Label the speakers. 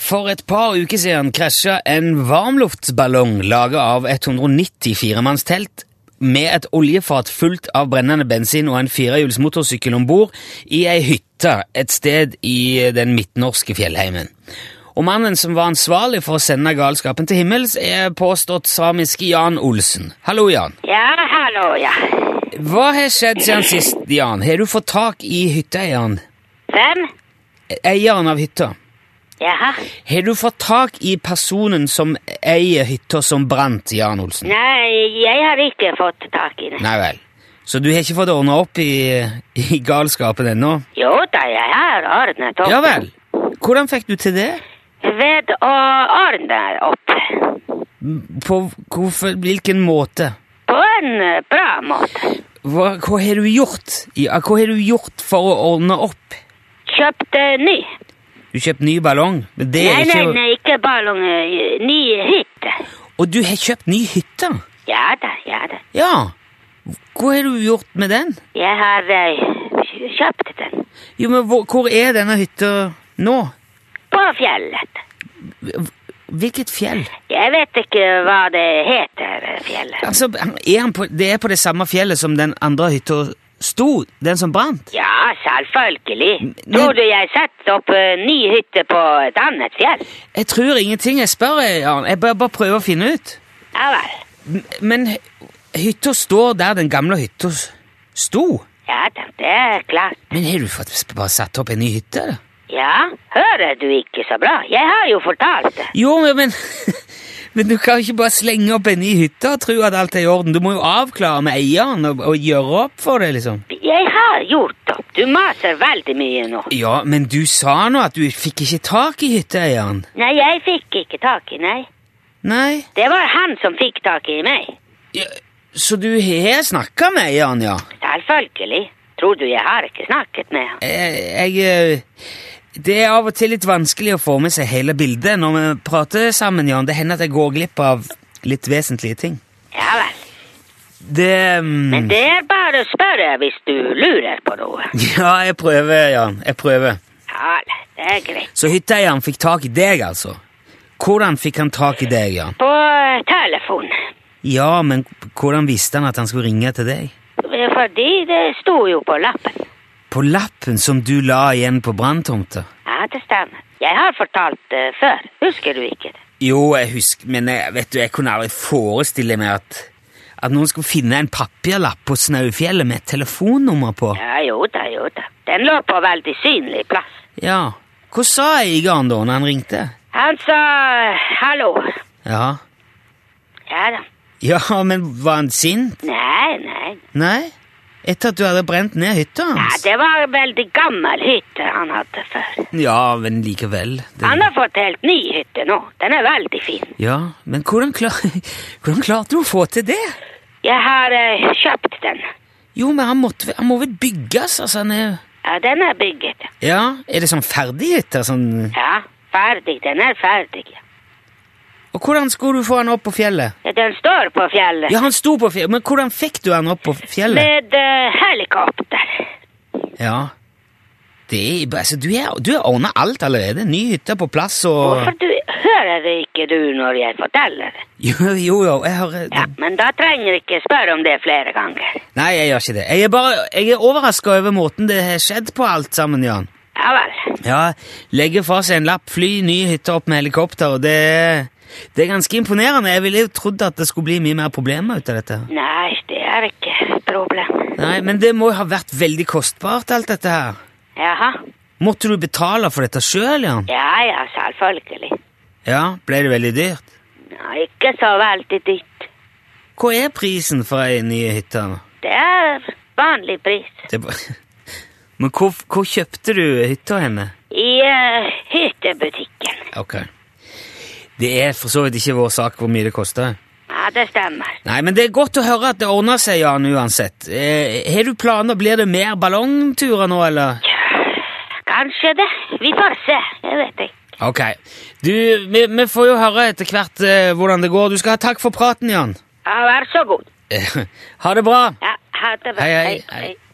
Speaker 1: For et par uker siden krasja en varmluftsballong laga av 190 firemannstelt med et oljefat fullt av brennende bensin og en firehjuls motorsykkel om bord i ei hytte et sted i den midtnorske fjellheimen. Og mannen som var ansvarlig for å sende galskapen til himmels, er påstått samiske Jan Olsen. Hallo, Jan.
Speaker 2: Ja, hallo, ja.
Speaker 1: Hva har skjedd siden sist, Jan? Har du fått tak i hytteeieren?
Speaker 2: Hvem?
Speaker 1: Eieren av hytta?
Speaker 2: Jaha.
Speaker 1: Har du fått tak i personen som eier hytta som brant, Jan Olsen?
Speaker 2: Nei, jeg har ikke fått tak i det.
Speaker 1: Nei vel. Så du har ikke fått ordna opp i, i galskapen ennå?
Speaker 2: Jo da, jeg har ordnet opp.
Speaker 1: Ja vel. Hvordan fikk du til det?
Speaker 2: Ved å ordne opp.
Speaker 1: På hvorfor, hvilken måte?
Speaker 2: På en eh, bra måte.
Speaker 1: Hva, hva har du gjort? Ja, hva har du gjort for å ordne opp?
Speaker 2: Kjøpte ny.
Speaker 1: Du kjøpt ny ballong? men Det
Speaker 2: Nei,
Speaker 1: er
Speaker 2: nei,
Speaker 1: ikke,
Speaker 2: nei, ikke ballong. eh, Ny hytte.
Speaker 1: Og du har kjøpt ny hytte?
Speaker 2: Ja da, ja da.
Speaker 1: Ja. Hva har du gjort med den?
Speaker 2: Jeg har eh, kjøpt den.
Speaker 1: Jo, men hvor, hvor er denne hytta nå?
Speaker 2: På fjellet.
Speaker 1: Hvilket fjell?
Speaker 2: Jeg vet ikke hva det heter, eh, fjellet.
Speaker 1: Altså, er han på, det er på det samme fjellet som den andre hytta sto, den som brant?
Speaker 2: Ja, selvfølgelig.
Speaker 1: Men-
Speaker 2: Tror du jeg setter opp eh, ny hytte på et annet fjell?
Speaker 1: Jeg tror ingenting. Jeg spør, Jan. Jeg bare, bare prøver å finne ut.
Speaker 2: Ja vel.
Speaker 1: M- Men hy- hytta står der den gamle hytta s- sto.
Speaker 2: Ja da, det er klart.
Speaker 1: Men har du fått s- bare satt opp en ny hytte? eller?
Speaker 2: Ja, hører du ikke så bra? Jeg har jo fortalt det.
Speaker 1: Jo, men, men Men du kan jo ikke bare slenge opp en ny hytte og tro at alt er i orden. Du må jo avklare med eieren og, og gjøre opp for det, liksom.
Speaker 2: Jeg har gjort opp. Du maser veldig mye nå.
Speaker 1: Ja, men du sa nå at du fikk ikke tak i hytteeieren.
Speaker 2: Nei, jeg fikk ikke tak i, nei.
Speaker 1: Nei?
Speaker 2: Det var han som fikk tak i meg.
Speaker 1: Ja, så du har snakka med eieren, ja?
Speaker 2: Selvfølgelig. Tror du jeg har ikke snakket med han?
Speaker 1: Eh, jeg, jeg Det er av og til litt vanskelig å få med seg hele bildet når vi prater sammen, Jan. Det hender at jeg går glipp av litt vesentlige ting.
Speaker 2: Ja vel.
Speaker 1: Det mm,
Speaker 2: Men det er bare å spørre hvis du lurer på noe.
Speaker 1: Ja, jeg prøver, Jan. Jeg prøver.
Speaker 2: Ja, vel, det er greit.
Speaker 1: Så hytteeieren fikk tak i deg, altså? Hvordan fikk han tak i deg, Jan?
Speaker 2: På telefon.
Speaker 1: Ja, men hvordan visste han at han skulle ringe til deg?
Speaker 2: Fordi det sto jo på lappen.
Speaker 1: På lappen som du la igjen på branntomta?
Speaker 2: Ja, det stemmer. Jeg har fortalt det før. Husker du ikke det?
Speaker 1: Jo, jeg husker, men jeg, vet du, jeg kunne aldri forestille meg at, at noen skulle finne en papirlapp på Snaufjellet med et telefonnummer på.
Speaker 2: Ja, jo da, jo da. Den lå på veldig synlig plass.
Speaker 1: Ja. Hva sa Igaren da når han ringte?
Speaker 2: Han sa hallo.
Speaker 1: Ja.
Speaker 2: Ja da.
Speaker 1: Ja, men var han sint?
Speaker 2: Nei, nei.
Speaker 1: Nei? Etter at du hadde brent ned hytta
Speaker 2: Ja,
Speaker 1: hans?
Speaker 2: det var en veldig gammel hytte han hadde før.
Speaker 1: Ja, men likevel. Det...
Speaker 2: Han har fått helt ny hytte nå. Den er veldig fin.
Speaker 1: Ja, men hvordan, klar... hvordan klarte du å få til det?
Speaker 2: Jeg har eh, kjøpt den.
Speaker 1: Jo, men han, måtte... vel- han må vel bygges, altså han er...
Speaker 2: Ja, den er bygget.
Speaker 1: Ja, er det sånn ferdig hytte? Sånn...
Speaker 2: Ja, ferdig. Den er ferdig. ja.
Speaker 1: Og hvordan skulle du få han opp på fjellet?
Speaker 2: Ja, Den står på fjellet
Speaker 1: Ja, han sto på fjellet, men hvordan fikk du han opp på fjellet?
Speaker 2: med eh, helikopter.
Speaker 1: Ja. Det er, altså, du er, du har ordna alt allerede. Ny hytte på plass og
Speaker 2: Hvorfor du, hører ikke du når jeg forteller det?
Speaker 1: Jo, jo, jo jeg hører
Speaker 2: Ja, men da trenger jeg ikke spørre om det flere ganger.
Speaker 1: Nei, jeg gjør ikke det. Jeg er bare jeg er overraska over måten det har skjedd på alt sammen, Jan.
Speaker 2: Ja vel.
Speaker 1: Ja, Legge fra seg en lapp, fly ny hytte opp med helikopter, og det er- Det er ganske imponerende. Jeg ville jo trodd at det skulle bli mye mer problemer ut av dette.
Speaker 2: Nei, det er ikke et problem.
Speaker 1: Nei, Men det må jo ha vært veldig kostbart, alt dette her.
Speaker 2: Jaha.
Speaker 1: Måtte du betale for dette sjøl, Jan?
Speaker 2: Ja, ja, selvfølgelig.
Speaker 1: Ja, ble det veldig dyrt?
Speaker 2: Ja, ikke så veldig dyrt.
Speaker 1: Hva er prisen for ei ny hytte?
Speaker 2: Det er vanlig pris.
Speaker 1: Det er bare- Men hvor, hvor kjøpte du hytta henne?
Speaker 2: I eh, hyttebutikken.
Speaker 1: Ok. Det er for så vidt ikke vår sak hvor mye det koster.
Speaker 2: Ja, det stemmer.
Speaker 1: Nei, men det er godt å høre at det ordner seg, Jan, uansett. Eh, har du planer? Blir det mer ballongturer nå, eller?
Speaker 2: Kanskje det. Vi får se. Jeg vet ikke.
Speaker 1: Ok. Du, vi, vi får jo høre etter hvert eh, hvordan det går. Du skal ha takk for praten, Jan.
Speaker 2: Ja, vær så god.
Speaker 1: Eh, ha det bra.
Speaker 2: Ja, ha det bra.
Speaker 1: Hei, hei, hei.